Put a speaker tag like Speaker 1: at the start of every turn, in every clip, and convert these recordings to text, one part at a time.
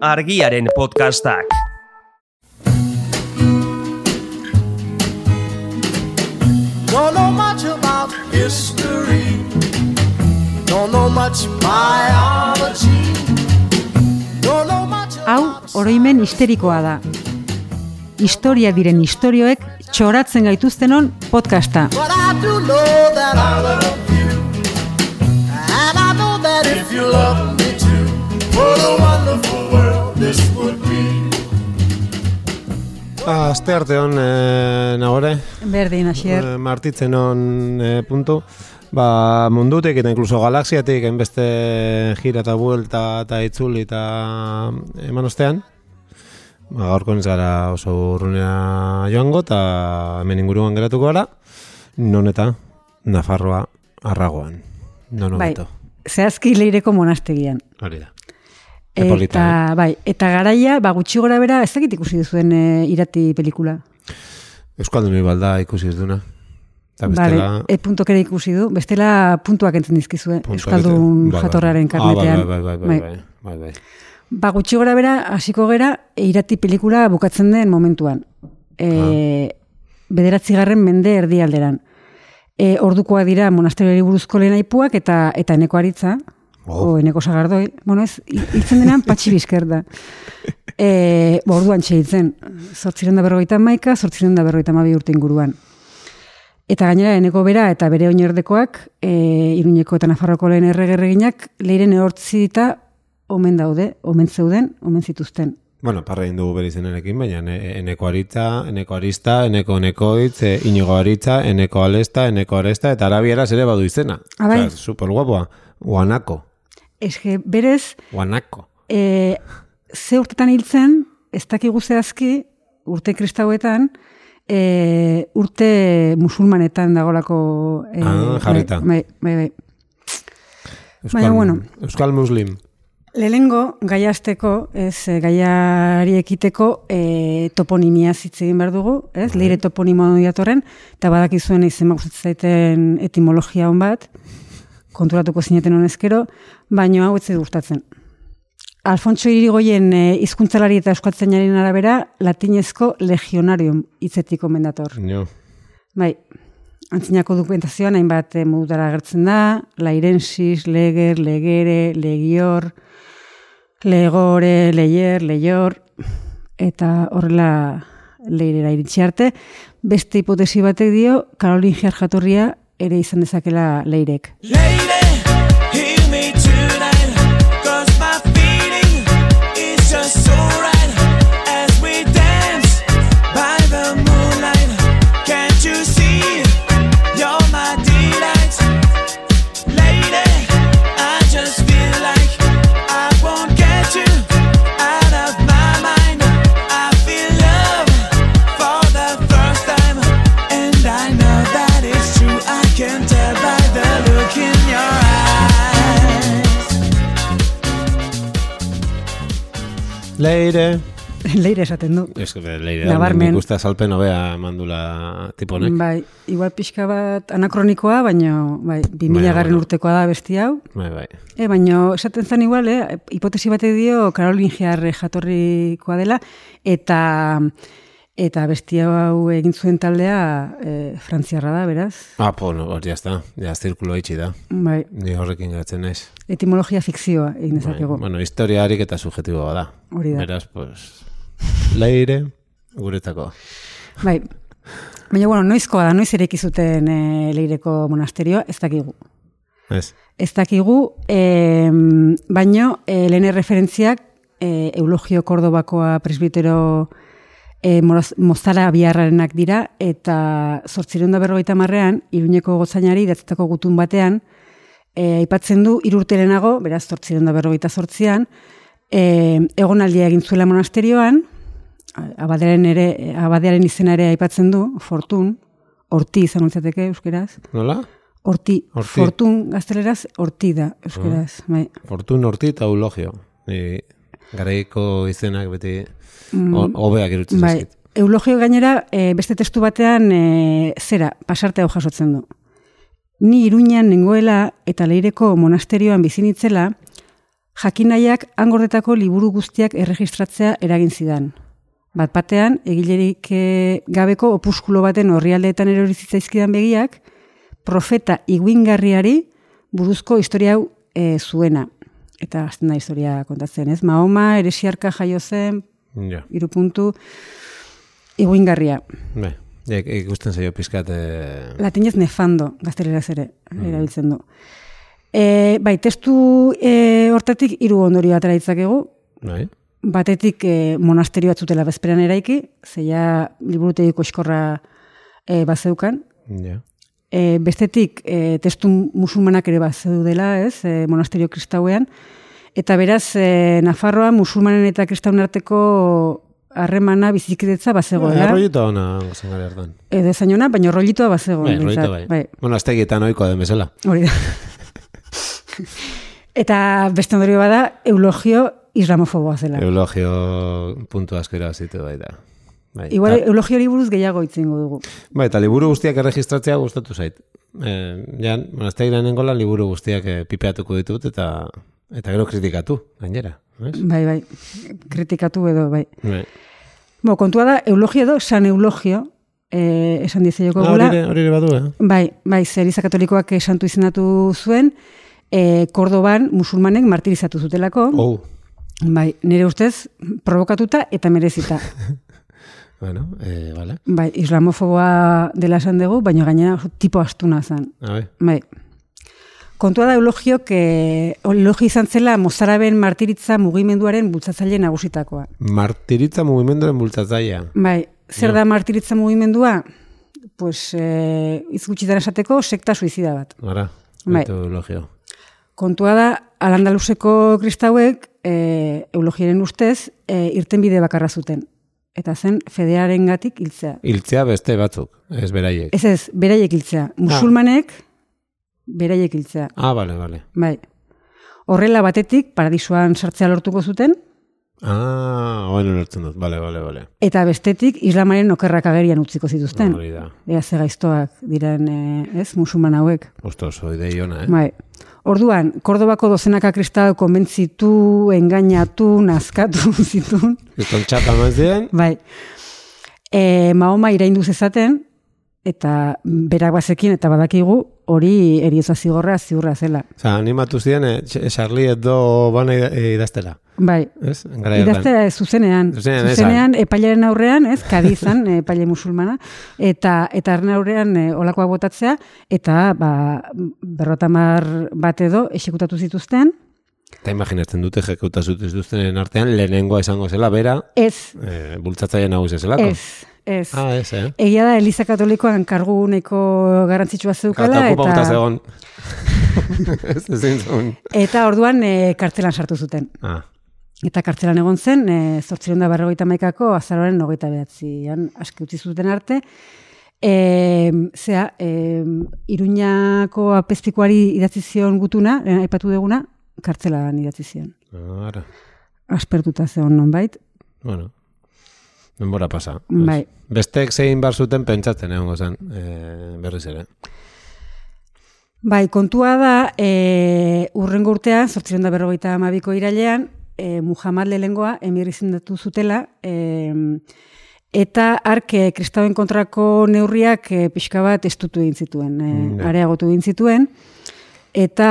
Speaker 1: argiaren podcastak.
Speaker 2: Don't know much about history. Don't know much biology. Don't know much
Speaker 3: Hau,
Speaker 2: about
Speaker 3: oroimen histerikoa da. Historia diren istorioek txoratzen gaituztenon podcasta.
Speaker 2: But I do know that I love you. And I know that if you love me too, what a wonderful world this would be.
Speaker 4: Aste arte hon, e, nagore,
Speaker 3: Berdin, asier.
Speaker 4: e, martitzen hon e, puntu, ba, mundutik eta inkluso galaxiatik enbeste gira eta buelta eta itzuli eta eh, eman ostean, ba, gaurko ez gara oso urrunea joango eta hemen inguruan geratuko gara, non eta Nafarroa arragoan, non
Speaker 3: Bai,
Speaker 4: hobeto,
Speaker 3: zehazki leireko monastegian.
Speaker 4: hori da.
Speaker 3: Eta,
Speaker 4: Epolita,
Speaker 3: bai, eta garaia, ba, gutxi gora bera, ez dakit ikusi duzuen e, irati pelikula.
Speaker 4: Euskaldun balda ikusi ez duna. Eta Ba, bestela,
Speaker 3: Bale, e, puntok ere ikusi du, bestela puntuak entzen dizkizue,
Speaker 4: puntuak
Speaker 3: Euskaldun
Speaker 4: ete- bai, bai.
Speaker 3: jatorraren karnetean.
Speaker 4: Ah, bai, bai, bai, bai, bai, bai, bai.
Speaker 3: Ba, gutxi gora bera, hasiko gera, e, irati pelikula bukatzen den momentuan. E, Bederatzigarren mende erdialderan. E, ordukoa dira monasterioari buruzko lehen aipuak eta eta eneko aritza,
Speaker 4: Oh.
Speaker 3: o eneko sagardoi, bueno ez, hil- hiltzen denean patxi bizker da. E, ba, orduan txeitzen, zortziren da berrogeita maika, zortziren da berrogeita mabi urte inguruan. Eta gainera, eneko bera eta bere oinerdekoak, e, Iruñeko eta Nafarroko lehen erregerreginak, leiren ehortzi eta omen daude, omen zeuden, omen zituzten.
Speaker 4: Bueno, parra egin dugu bere izenarekin, baina e- eneko aritza, eneko arista, eneko enekoitz, e, inigo aritza, eneko alesta, eneko aresta, eta arabieraz ere badu izena.
Speaker 3: Ah, bai.
Speaker 4: Osea, super guapoa. Guanako.
Speaker 3: Eske, berez,
Speaker 4: Guanako.
Speaker 3: e, ze urtetan hiltzen, ez dakigu zehazki, urte kristauetan, e, urte musulmanetan dagolako... E,
Speaker 4: Ah, jarrita.
Speaker 3: Bai, bai, bai.
Speaker 4: Euskal,
Speaker 3: Baina, bueno.
Speaker 4: Euskal muslim.
Speaker 3: Lehenengo, gaia azteko, ez, eh, gaiari ekiteko e, toponimia hitz egin behar dugu, ez, leire toponimoa hori datorren, eta badakizuen izen gustatzen zaiten etimologia hon bat, konturatuko zineten honezkero, baino hau etzi gustatzen. Alfonso Irigoyen e, hizkuntzalari eta euskatzainaren arabera, latinezko legionarium hitzetiko mendator.
Speaker 4: Jo.
Speaker 3: Bai, antzinako dokumentazioan hainbat eh, modutara agertzen da, lairensis, leger, legere, legior, legore, leier, leior, eta horrela leirera iritsi arte. Beste hipotesi batek dio, Karolingiar jatorria ere izan dezakela leirek.
Speaker 5: Lady, hear me tonight, 'cause my feeling is just so right as we dance by the moonlight. Can't you see? You're my delight. Lady, I just feel like I won't get you out of my mind. I feel love for the first time, and I know that it's true. I can tell by the look in your eyes.
Speaker 4: Leire.
Speaker 3: Leire esaten du.
Speaker 4: Ez, be, leire.
Speaker 3: Nabarmen.
Speaker 4: Nik uste azalpen hobea mandula tiponek.
Speaker 3: Bai, igual pixka bat anakronikoa, baina bai, 2000
Speaker 4: Baina,
Speaker 3: garren
Speaker 4: bueno.
Speaker 3: urtekoa da besti hau.
Speaker 4: Bai, bai.
Speaker 3: E, baino, esaten zen igual, eh, hipotesi batek dio Karolingiar eh, jatorrikoa dela, eta eta bestia hau egin zuen taldea eh, frantziarra da, beraz.
Speaker 4: Ah, bueno, hor, jazta. Ja, zirkulo itxi da.
Speaker 3: Bai,
Speaker 4: Ni horrekin gatzen naiz.
Speaker 3: etimologia fikzioa egin
Speaker 4: Bai,
Speaker 3: dezakegu.
Speaker 4: bueno, historia harik eta subjetiboa da.
Speaker 3: Hori da.
Speaker 4: Beraz, pues, leire, guretako.
Speaker 3: Bai. Baina, bueno, noizkoa da, noiz ere zuten e, leireko monasterioa, ez dakigu.
Speaker 4: Ez.
Speaker 3: Ez dakigu, e, baino, e, lehen referentziak e, Eulogio Kordobakoa presbitero e, moroz- mozara biharrarenak dira, eta zortzireun da berrogeita marrean, iruñeko gotzainari idatzetako gutun batean, e, aipatzen du irurtelenago, beraz zortzireun da berrogeita zortzian, e, egonaldia egin zuela monasterioan, abadearen, ere, abadearen izena ere aipatzen du, fortun, horti izan ontzateke euskeraz,
Speaker 4: Nola?
Speaker 3: Horti,
Speaker 4: Horti.
Speaker 3: fortun gazteleraz, horti da, euskeraz. Bai.
Speaker 4: Fortun horti eta eulogio. Ni garaiko izenak beti ho- hobeak irutzen
Speaker 3: Mm. bai.
Speaker 4: zaizkit.
Speaker 3: Eulogio gainera, e, beste testu batean, e, zera, pasarte hau jasotzen du. Ni iruñan nengoela eta leireko monasterioan bizinitzela, Jakinaiak angordetako liburu guztiak erregistratzea eragin zidan. Bat batean, egilerik eh, gabeko opuskulo baten orrialdeetan erori zitzaizkidan begiak, profeta iguingarriari buruzko historia hau eh, zuena. Eta hasten da historia kontatzen, ez? Mahoma, eresiarka jaio zen,
Speaker 4: Ja.
Speaker 3: hiru puntu, iguingarria.
Speaker 4: Bai. Ik- Ikusten zaio pizkat eh,
Speaker 3: Latinez nefando, gazteleraz ere, erabiltzen du. E, bai, testu e, hortatik hiru ondorio atera ditzakegu.
Speaker 4: Bai.
Speaker 3: Batetik e, monasterio bat zutela bezperan eraiki, zeia liburutegiko eskorra e, bazeukan.
Speaker 4: Ja.
Speaker 3: E, bestetik, e, testu musulmanak ere bazeudela, ez, e, monasterio kristauean. Eta beraz, e, Nafarroa musulmanen eta kristaun arteko harremana bizikidetza bazegoela.
Speaker 4: Arroiuta Bai, ona zen gara hartan.
Speaker 3: Edo esan jona, Eh, baina rollitoa bazegoen.
Speaker 4: Bai, arroiuta bai.
Speaker 3: behintzat, bai.
Speaker 4: Bueno, aztegietan oikoa den bezala.
Speaker 3: Hori da. Eta beste ondorio bada, eulogio islamofoboa zela.
Speaker 4: Eulogio puntu asko irabazitu bai da. Bai,
Speaker 3: Igual
Speaker 4: ta-
Speaker 3: eulogio hori buruz gehiago itzingo dugu.
Speaker 4: bai, eta liburu guztiak erregistratzea gustatu zait. Eh, jan, monastegiran nengola liburu guztiak eh, pipeatuko ditut eta eta gero kritikatu, gainera. Ez?
Speaker 3: Bai, bai, kritikatu edo, bai.
Speaker 4: Bai.
Speaker 3: Bo, kontua da, eulogio edo san eulogio, eh, esan dizeioko
Speaker 4: Ah, Hori ere- hori ere badu, eh?
Speaker 3: Bai, bai, zer Eliza katolikoak eh, santu izendatu zuen, eh, Kordoban musulmanek martirizatu zutelako.
Speaker 4: Oh,
Speaker 3: Bai, nire ustez, provokatuta eta merezita.
Speaker 4: bueno, eh, vale.
Speaker 3: bai, islamofoboa dela esan dugu, baina gainera oso tipo astuna zen.
Speaker 4: A ver.
Speaker 3: Bai. Kontua da eulogio, que eulogio izan zela mozaraben martiritza mugimenduaren bultzatzaile nagusitakoa.
Speaker 4: Martiritza mugimenduaren bultzatzaia.
Speaker 3: Bai, zer da martiritza mugimendua? Pues, eh, izgutxitan esateko sekta suizida bat.
Speaker 4: Gara,
Speaker 3: Bai.
Speaker 4: ditu eulogio.
Speaker 3: Kontua da, alandaluseko kristauek eh, eulogiaren ustez eh, irtenbide bakarra zuten. Eta zen, fedearengatik hiltzea.
Speaker 4: Hiltzea beste batzuk, ez beraiek.
Speaker 3: Ez ez, beraiek hiltzea.
Speaker 4: Ba.
Speaker 3: Musulmanek, beraiek hiltzea.
Speaker 4: Ah, bale, bale.
Speaker 3: Bai. Horrela batetik, paradisuan sartzea lortuko zuten,
Speaker 4: Ah, bueno, lertzen dut, bale, bale, bale.
Speaker 3: Eta bestetik, islamaren okerrak agerian utziko zituzten.
Speaker 4: Hori da.
Speaker 3: Ea ze gaiztoak diren, eh, ez, musulman hauek.
Speaker 4: Osto, oso idei ona, eh?
Speaker 3: Bai. Orduan, Kordobako dozenaka kristau konbentzitu, engainatu, nazkatu zitun.
Speaker 4: Kriston txapa eman ziren,
Speaker 3: Bai. E, Mahoma iraindu zezaten, eta berak bazekin, eta badakigu, hori eriotza zigorra ziurra zela.
Speaker 4: oza, animatu ziren, eh, Ch- Charlie Hebdo bana ida- eh, idaztela.
Speaker 3: Bai.
Speaker 4: Ez? Gara
Speaker 3: Idaztera ez, zuzenean.
Speaker 4: Zuzenean, ez,
Speaker 3: zuzenean epailaren aurrean, ez, kadizan, eh, epaile musulmana, eta eta haren aurrean e, olakoa botatzea, eta ba, berrotamar bat edo esekutatu zituzten,
Speaker 4: Eta imaginatzen dute jekeuta zuten artean, lehenengoa izango zela, bera,
Speaker 3: ez,
Speaker 4: eh, bultzatzaile nagusia zelako.
Speaker 3: ez, ez.
Speaker 4: Ah, ez, eh?
Speaker 3: Egia da, Eliza Katolikoan kargu nahiko garrantzitsua zeukala,
Speaker 4: Kata okupa
Speaker 3: eta,
Speaker 4: zegoen. ez ezin zuen.
Speaker 3: eta orduan e, kartzelan sartu zuten.
Speaker 4: Ah,
Speaker 3: Eta kartzelan egon zen, e, zortziron da berrogeita maikako azaroaren hogeita behatzian aski utzi zuten arte. E, zea, e, Iruñako apestikoari idatzi zion gutuna, lehen aipatu deguna, kartzelan idatzi zion.
Speaker 4: ara.
Speaker 3: Aspertuta zeon nonbait.
Speaker 4: Bueno, denbora pasa.
Speaker 3: Bai.
Speaker 4: Bestek zein bar zuten pentsatzen egongo zen, eh, berriz ere.
Speaker 3: Bai, kontua da, e, urrengo urtean, zortziron da berrogeita amabiko irailean, e, Muhammad lehengoa emir izendatu zutela, e, eta arke kristauen kontrako neurriak e, pixka bat estutu egin zituen, e, areagotu egin zituen, eta,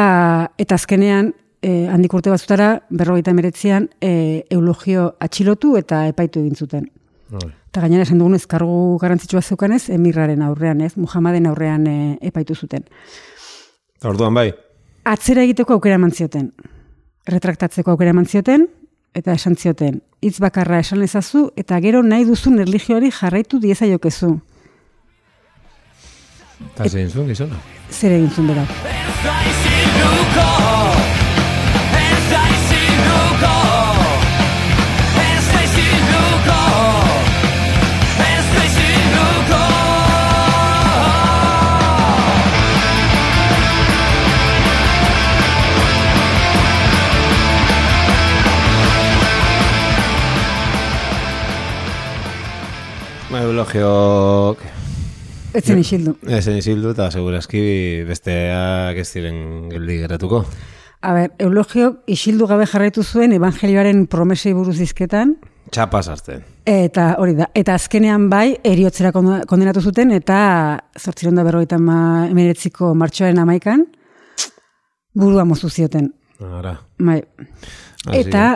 Speaker 3: eta azkenean, e, handik urte batzutara, berrogeita emeretzian, e, eulogio atxilotu eta epaitu egin zuten.
Speaker 4: Bai.
Speaker 3: Eta gainera esan dugun ezkargu garantzitsua zeukanez, emirraren aurrean, ez, Muhammaden aurrean e, epaitu zuten
Speaker 4: Eta Orduan bai,
Speaker 3: atzera egiteko aukera eman zioten. Retraktatzeko aukera eman zioten, eta esan zioten. Hitz bakarra esan ezazu, eta gero nahi duzun erlijioari jarraitu diezaiokezu.
Speaker 4: eta zein zuen gizona.
Speaker 3: Zer egin zuen berak.
Speaker 4: Bai, elogiok
Speaker 3: Etzen isildu.
Speaker 4: ezen izildu eta segurazki besteak ez ziren geldi geratuko.
Speaker 3: A ber, Eulogio isildu gabe jarraitu zuen evangelioaren promesei buruz dizketan,
Speaker 4: Txapa sartzen.
Speaker 3: eta hori da, eta azkenean bai, eriotzera kondo- kondenatu zuten, eta zortziron da berrogeita ma, emeretziko martxoaren amaikan, burua mozu zioten.
Speaker 4: Ara.
Speaker 3: Bai.
Speaker 4: Hasi
Speaker 3: Eta,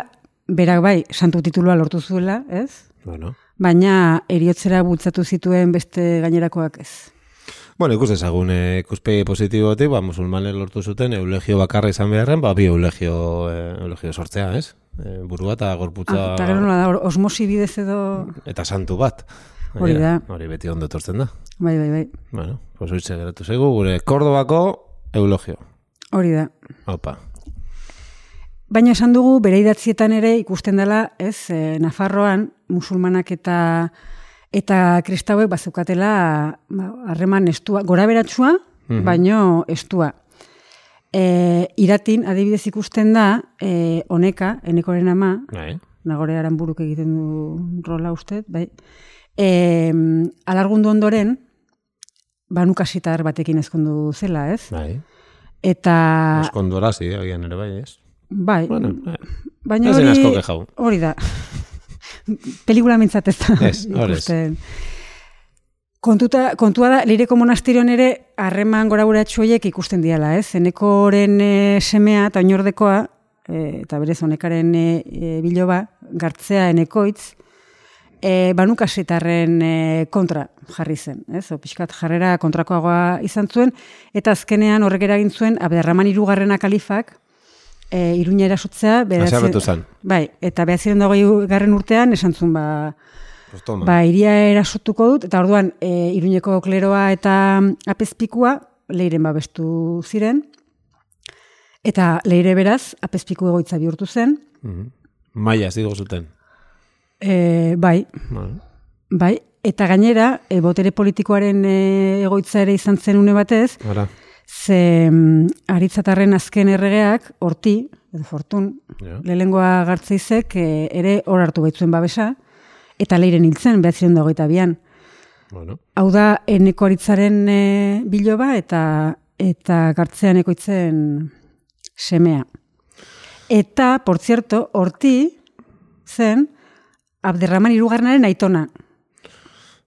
Speaker 3: berak bai, santu titulua lortu zuela, ez?
Speaker 4: Bueno.
Speaker 3: Baina eriotzera bultzatu zituen beste gainerakoak ez.
Speaker 4: Bueno, ikus ezagun eh, ikuspegi positibotik, ba, musulmanek lortu zuten eulegio bakarra izan beharren, ba, bi eulegio, eh, eulegio sortzea, ez? Eh, burua eta gorputza
Speaker 3: Ah, Eta gero nola da, hor- osmosi bidez edo...
Speaker 4: eta santu bat.
Speaker 3: Hori da.
Speaker 4: Hori beti ondo etortzen da.
Speaker 3: Bai, bai, bai.
Speaker 4: Bueno, pues hoitze geratu zaigu, gure Kordobako eulogio.
Speaker 3: Hori da.
Speaker 4: Opa.
Speaker 3: Baina esan dugu bere idatzietan ere ikusten dela, ez, e, Nafarroan musulmanak eta eta kristauek bazeukatela ba, harreman estua, gora beratsua, baino estua. E, iratin, adibidez ikusten da, e, oneka, enekoren ama,
Speaker 4: Bai.
Speaker 3: nagore aranburuk egiten du rola uste, bai. E, alargundu ondoren, banukasitar batekin ezkondu zela, ez?
Speaker 4: Bai.
Speaker 3: Eta,
Speaker 4: Eskondorazi, agian ere bai, ez?
Speaker 3: bai,
Speaker 4: Bueno, bai.
Speaker 3: Baina
Speaker 4: Ez zen
Speaker 3: hori,
Speaker 4: asko kexau.
Speaker 3: hori da. Pelikula mintzat ez da.
Speaker 4: Ez, hor ez.
Speaker 3: ikusten. Kontuta, kontua da, lireko monastirion ere harreman gora gura ikusten diala, ez? Zenekoren e, semea eta oinordekoa, e, eta berez honekaren e, e, biloba, gartzea enekoitz, e, banukasitarren e, kontra jarri zen, ez? O, pixkat jarrera kontrakoagoa izan zuen, eta azkenean horrek eragin zuen, Abderraman irugarrena kalifak, e, iruña erasotzea, bederatzi-
Speaker 4: Haserretu zen.
Speaker 3: Bai, eta behatzen dago garren urtean, esan zuen, ba,
Speaker 4: Pues toma.
Speaker 3: Ba, iria erasotuko dut, eta orduan, e, iruñeko kleroa eta apezpikua, leiren babestu ziren, eta leire beraz, apezpiku egoitza bihurtu zen,
Speaker 4: Mhm. Maia, ez digo zuten.
Speaker 3: e, bai,
Speaker 4: Bueno.
Speaker 3: bai, eta gainera, e, botere politikoaren e, egoitza ere izan zen une batez,
Speaker 4: Ara.
Speaker 3: ze mm, aritzatarren azken erregeak, horti, edo fortun,
Speaker 4: Ja.
Speaker 3: lehengoa gartzeizek, e, ere hor hartu baitzuen babesa, eta leiren hiltzen, behatziren da hogeita bian.
Speaker 4: Bueno.
Speaker 3: Hau da, eneko aritzaren e, biloba eta eta gartzean ekoitzen semea. Eta, por cierto, horti zen Abderraman irugarnaren aitona.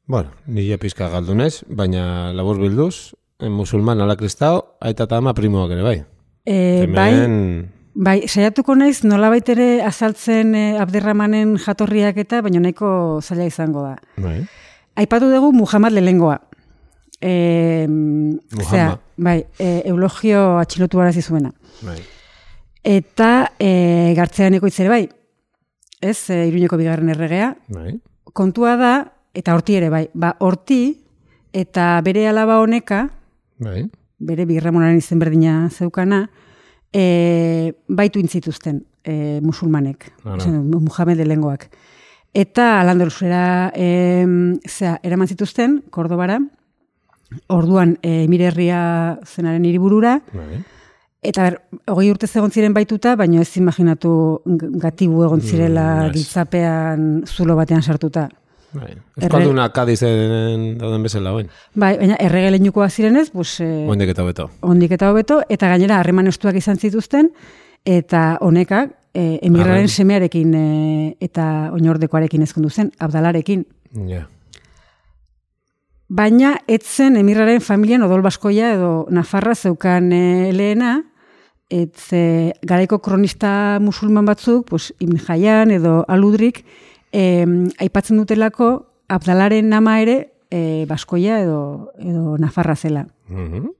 Speaker 4: Bueno, nire pizka galdunez, baina labur bilduz, eh, musulman ala kristao, aita eta ama primoak ere bai.
Speaker 3: E, bai,
Speaker 4: Hemen,
Speaker 3: bai, saiatuko naiz nolabait ere azaltzen e, Abderramanen jatorriak eta baino nahiko zaila izango da.
Speaker 4: bai.
Speaker 3: Aipatu dugu Muhammad lehengoa. E,
Speaker 4: Muhammad.
Speaker 3: bai, e, eulogio atxilotu arazi zuena.
Speaker 4: bai.
Speaker 3: Eta e, gartzean ekoitz ere bai, ez, e, iruñeko bigarren erregea.
Speaker 4: Bai.
Speaker 3: Kontua da, eta horti ere bai, ba, horti eta bere alaba honeka,
Speaker 4: Bai.
Speaker 3: bere birramonaren izen berdina zeukana, e, baitu intzituzten e, musulmanek,
Speaker 4: Ara.
Speaker 3: esan du, Muhammed lehengoak. Eta alandoruzera e, zera, eraman zituzten, Kordobara, orduan e, mirerria zenaren hiriburura,
Speaker 4: Bai.
Speaker 3: Eta ber, hogei urte egon ziren baituta, baina ez imaginatu g- gatibu egon zirela
Speaker 4: Mm, ez.
Speaker 3: giltzapean zulo batean sartuta.
Speaker 4: bai. Euskalduna kadizen dauden bezala, bain.
Speaker 3: Bai, baina erregelenukoa zirenez, pues, eh,
Speaker 4: Oindek eta beto.
Speaker 3: ondik eta hobeto, eta gainera harreman estuak izan zituzten, eta honekak eh, emirraren
Speaker 4: Arren.
Speaker 3: semearekin eh, eta oinordekoarekin ezkondu zen, abdalarekin.
Speaker 4: Ja.
Speaker 3: Baina etzen emirraren familian odolbaskoia edo Nafarra zeukan eh, lehena, etz eh, garaiko kronista musulman batzuk, pues, Ibn Jaian edo Aludrik, em, aipatzen dutelako Abdalaren nama ere eh, baskoia edo, edo Nafarra zela.
Speaker 4: Mhm.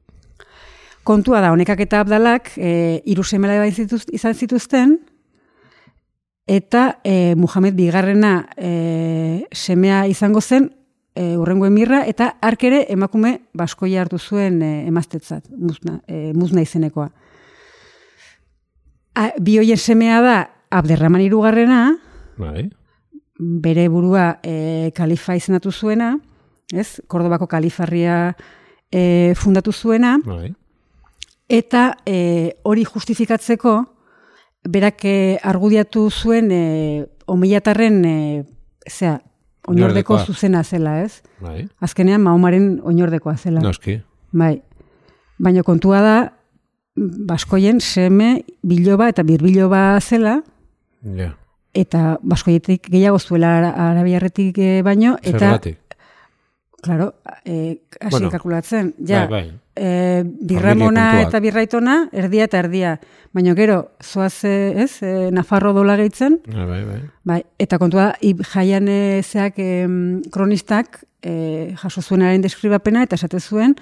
Speaker 3: Kontua da, honekak eta abdalak e, iru semela bai zituz- izan zituzten, eta e, Muhammed bigarrena e, semea izango zen, e, urrengo emirra, eta hark ere emakume baskoia hartu zuen e, emaztetzat, muzna, e, muzna izenekoa. A, bi hoien semea da, Abderraman irugarrena,
Speaker 4: Bai.
Speaker 3: bere burua e, kalifa izendatu zuena, ez, Kordobako kalifarria e, fundatu zuena,
Speaker 4: Bai.
Speaker 3: Eta e, hori justifikatzeko, berak e, argudiatu zuen e, omilatarren, e, zera, oinordeko
Speaker 4: Oinordekoa.
Speaker 3: zuzena zela, ez?
Speaker 4: Bai.
Speaker 3: Azkenean Mahomaren oinordekoa zela.
Speaker 4: Noski.
Speaker 3: Bai. Baina kontua da, Baskoien seme biloba eta birbiloba zela,
Speaker 4: Ja.
Speaker 3: eta baskoietik gehiago zuela ara- arabiarretik eh, baino, eta,
Speaker 4: Zergatik.
Speaker 3: klaro, e, hasi
Speaker 4: Bueno.
Speaker 3: kalkulatzen, ja,
Speaker 4: Bai, bai.
Speaker 3: eh, birramona
Speaker 4: Familia kontuak.
Speaker 3: eta birraitona, erdia eta erdia, baina gero, zoaz, eh, ez, eh, Nafarro dola gehitzen,
Speaker 4: Ja, bai, bai.
Speaker 3: Bai, eta kontua da, ib- jaian eh, zeak em, kronistak eh, jaso zuenaren deskribapena eta esate zuen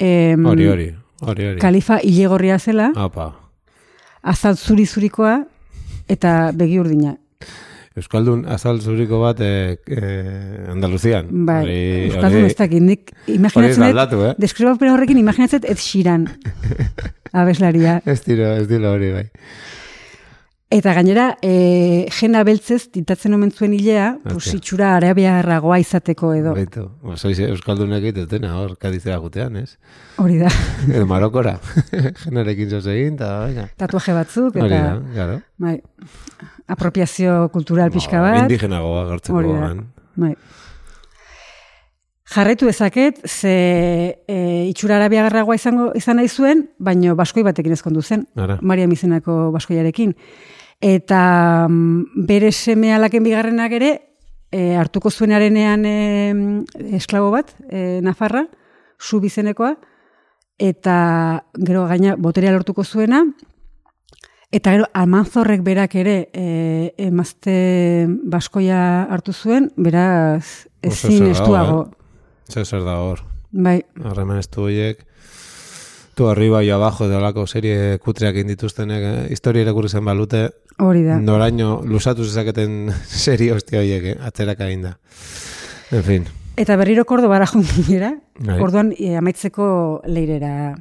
Speaker 3: em,
Speaker 4: Hori, hori. Hori, hori. Ah.
Speaker 3: kalifa hilegorria zela,
Speaker 4: Apa.
Speaker 3: azal zuri zurikoa eta begi urdina.
Speaker 4: Euskaldun azal zuriko bat eh, eh, Andaluzian.
Speaker 3: Bai,
Speaker 4: Hori-
Speaker 3: Euskaldun
Speaker 4: hori-
Speaker 3: ez dakit, nik
Speaker 4: Hori ez
Speaker 3: imaginatzen
Speaker 4: da
Speaker 3: dut,
Speaker 4: aldatu, eh?
Speaker 3: deskribapena horrekin imaginatzen dut ez xiran abeslaria.
Speaker 4: Ez dira, ez dira hori, bai.
Speaker 3: Eta gainera, e, jena beltzez tintatzen omen zuen hilea, pues,
Speaker 4: Atea.
Speaker 3: itxura arabiarragoa izateko edo.
Speaker 4: Baitu. Ba, soiz Euskaldunak egitutena, hor, kadizera gutean, ez?
Speaker 3: Hori da,
Speaker 4: Edo marokora. Jenarekin zoz egin, eta baina.
Speaker 3: tatuaje batzuk
Speaker 4: Hori da,
Speaker 3: eta...
Speaker 4: garo.
Speaker 3: Bai. Apropiazio kultural pixka
Speaker 4: Ba,
Speaker 3: bat.
Speaker 4: Indigenagoa gartzeko
Speaker 3: Hori da.
Speaker 4: gogan.
Speaker 3: Bai. Jarraitu dezaket, ze e, itxura arabia garragoa izango, izan nahi zuen, baino baskoi batekin ezkondu zen.
Speaker 4: Ara.
Speaker 3: Maria Mizenako baskoiarekin. Eta mm, bere seme alaken bigarrenak ere, e, hartuko zuen arenean e, esklabo bat, e, Nafarra, zu bizenekoa, eta gero gaina boterea lortuko zuena, Eta gero, almanzorrek berak ere e, emazte baskoia hartu zuen, beraz,
Speaker 4: Oso
Speaker 3: ezin
Speaker 4: zer dago, eh?
Speaker 3: estuago.
Speaker 4: Zer zer da hor.
Speaker 3: Bai,
Speaker 4: Harreman estu horiek. Tu arriba y abajo de olako serie kutreak indituztenek, eh? historia irakurri zen balute,
Speaker 3: hori da.
Speaker 4: noraino lusatu zezaketen serie hostia horiek, eh? atzerak da. En fin.
Speaker 3: Eta berriro kordo bara junginera,
Speaker 4: Bai.
Speaker 3: orduan e, amaitzeko leirera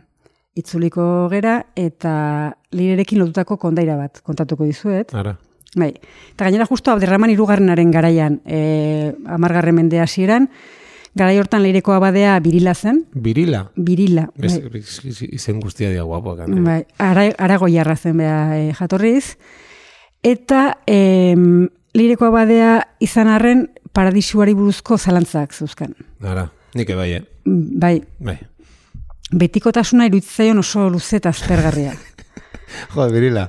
Speaker 3: itzuliko gera, eta leirerekin lotutako kondaira bat kontatuko dizuet.
Speaker 4: Ara.
Speaker 3: Bai. Eta gainera justu Abderraman irugarrenaren garaian, e, amargarren mende hasieran, garai hortan leireko abadea birila zen,
Speaker 4: Birila.
Speaker 3: birila.
Speaker 4: Ez,
Speaker 3: bai.
Speaker 4: izen guztia dia guapoak. eh? hande.
Speaker 3: Bai, ara, aragoiarra zen bera eh, jatorriz. Eta em, lireko abadea izan arren paradisuari buruzko zalantzak zeuzkan.
Speaker 4: Ara. Nik ebai, eh?
Speaker 3: Mm, Bai,
Speaker 4: Bai.
Speaker 3: betikotasuna iruditzaion oso luze eta aspergarria.
Speaker 4: Jo, birila.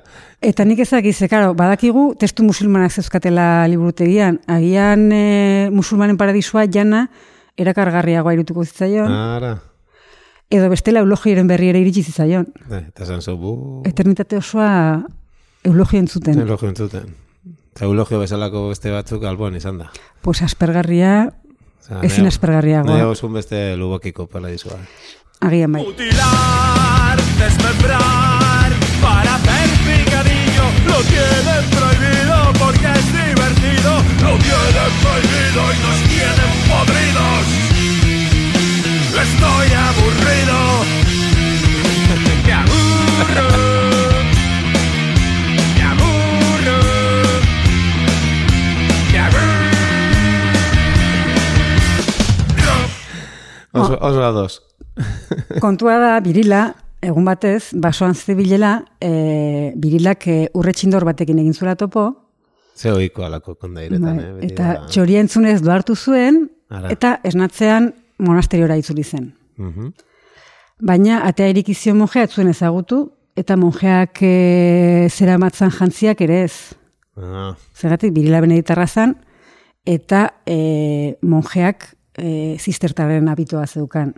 Speaker 3: Eta nik ezak ze, karo, badakigu testu musulmanak zeuzkatela liburutegian. Agian e, musulmanen paradisua jana erakargarriagoa irutuko zitzaion,
Speaker 4: Ara.
Speaker 3: edo bestela eulogiaren berri ere iritsi zitzaion.
Speaker 4: Bai, Eta zan zu, bu...
Speaker 3: Eternitate osoa eulogio entzuten.
Speaker 4: Elogio entzuten. Eta eulogio bezalako beste batzuk alboan izan da.
Speaker 3: Pues aspergarria
Speaker 4: Osea,
Speaker 3: Ezin
Speaker 4: nahiago-
Speaker 3: aspergarriagoa.
Speaker 4: Nahiago zuen beste lubokiko paradisua.
Speaker 3: Agian bai.
Speaker 5: Mutilar, desmembrar, para hacer picadillo. Lo tienen prohibido porque es divertido. Lo tienen prohibido y nos tienen podridos. Estoy aburrido. Me aburro. Me aburro. Me aburro.
Speaker 4: Oso,
Speaker 3: Ah.
Speaker 4: oso ados.
Speaker 3: Kontua da, birila, egun batez, basoan zebilela, e, birilak e, urretxindor batekin egin zuela topo,
Speaker 4: Ze oiko alako kondairetan,
Speaker 3: bai,
Speaker 4: eh? beti
Speaker 3: eta
Speaker 4: da-
Speaker 3: txoria entzunez doartu zuen,
Speaker 4: Ara.
Speaker 3: eta esnatzean monasteriora itzuli zen.
Speaker 4: Mhm.
Speaker 3: Baina, atea irikizio monjea ez zuen ezagutu, eta monjeak e, zera matzan jantziak ere ez.
Speaker 4: Ah,
Speaker 3: Zergatik, birila beneditarra zan, eta e, monjeak e, zistertaren abitoa zeukan.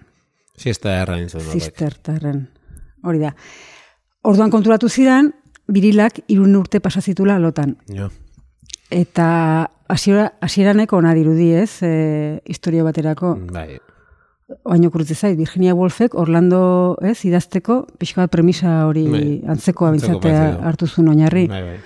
Speaker 4: siesta erra nintzen.
Speaker 3: Zistertarren. Hori da. Orduan konturatu zidan, birilak irun urte pasazitula lotan.
Speaker 4: Jo.
Speaker 3: Eta hasiera hasieraneko ona dirudi ez, e, historio baterako.
Speaker 4: Bai.
Speaker 3: Oaino kurtze zait, Virginia Woolfek Orlando ez, idazteko, pixka bat premisa hori
Speaker 4: Bai.
Speaker 3: antzekoa
Speaker 4: Antzeko
Speaker 3: bintzatea
Speaker 4: parecia.
Speaker 3: hartu zuen oinarri.
Speaker 4: Bai, bai.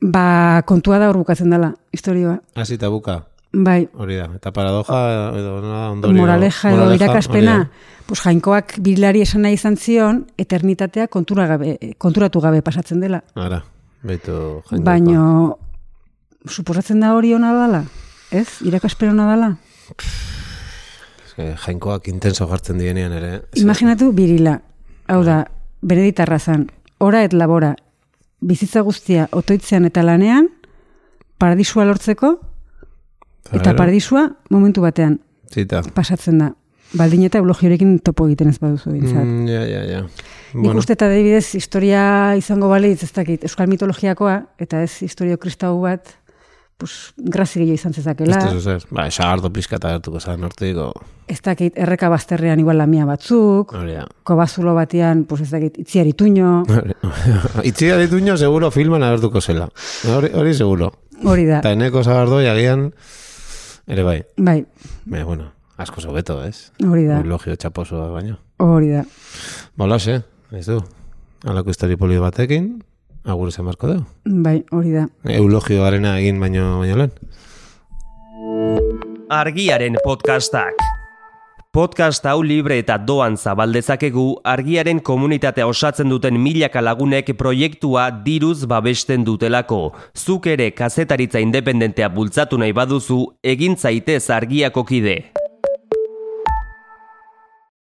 Speaker 3: Ba, kontua da hor bukatzen dela, historioa.
Speaker 4: Hasi eta buka,
Speaker 3: Bai,
Speaker 4: hori da. Eta paradoja, edo nola ondorio.
Speaker 3: moraleja edo
Speaker 4: moraleja,
Speaker 3: irakaspena,
Speaker 4: hori da.
Speaker 3: pues jainkoak birilari esan nahi izan zion, eternitatea kontura gabe, konturatu gabe pasatzen dela.
Speaker 4: Ara, baitu jainkoa.
Speaker 3: Baino, suposatzen da hori ona dala? Ez? Irakaspen ona dala?
Speaker 4: Eske, Jainkoak intenso jartzen dienean ere.
Speaker 3: Imaginatu birila. Hau da, beneditarra zan. Ora et labora. Bizitza guztia otoitzean eta lanean, paradisua lortzeko, eta
Speaker 4: Claro.
Speaker 3: paradisua momentu batean
Speaker 4: Zita.
Speaker 3: pasatzen da. baldin eta eulogiorekin topo egiten ez baduzu bintzat.
Speaker 4: Mm, ja, ja, ja.
Speaker 3: Nik uste eta adibidez historia izango balitz, ez dakit, euskal mitologiakoa, eta ez historio kristau bat, pues, grazi gehiago izan zezakela.
Speaker 4: Este zer. Ba, xagardo pizkata hartuko zan hortiko.
Speaker 3: Ez dakit, erreka bazterrean igual lamia batzuk,
Speaker 4: Hori da.
Speaker 3: kobazulo batean, pues ez dakit, itziar ituño,
Speaker 4: Eh. Itzia dituño seguro filman agertuko zela. Hori, hori seguro.
Speaker 3: hori da.
Speaker 4: Eta eneko zagardoi agian, ere bai.
Speaker 3: Bai,
Speaker 4: Baina, bueno, asko zobeto, ez?
Speaker 3: hori da,
Speaker 4: Eulogio txaposoa baino.
Speaker 3: hori da.
Speaker 4: Bola, ze, ez du. Alako histori poli batekin, agur zen barko dugu.
Speaker 3: Bai, hori da.
Speaker 4: Eulogioarena egin baino baino lehen.
Speaker 1: Argiaren podcastak. Podcast hau libre eta doan zabaldezakegu argiaren komunitatea osatzen duten milaka lagunek proiektua diruz babesten dutelako. Zuk ere kazetaritza independentea bultzatu nahi baduzu, egin zaitez argiako kide.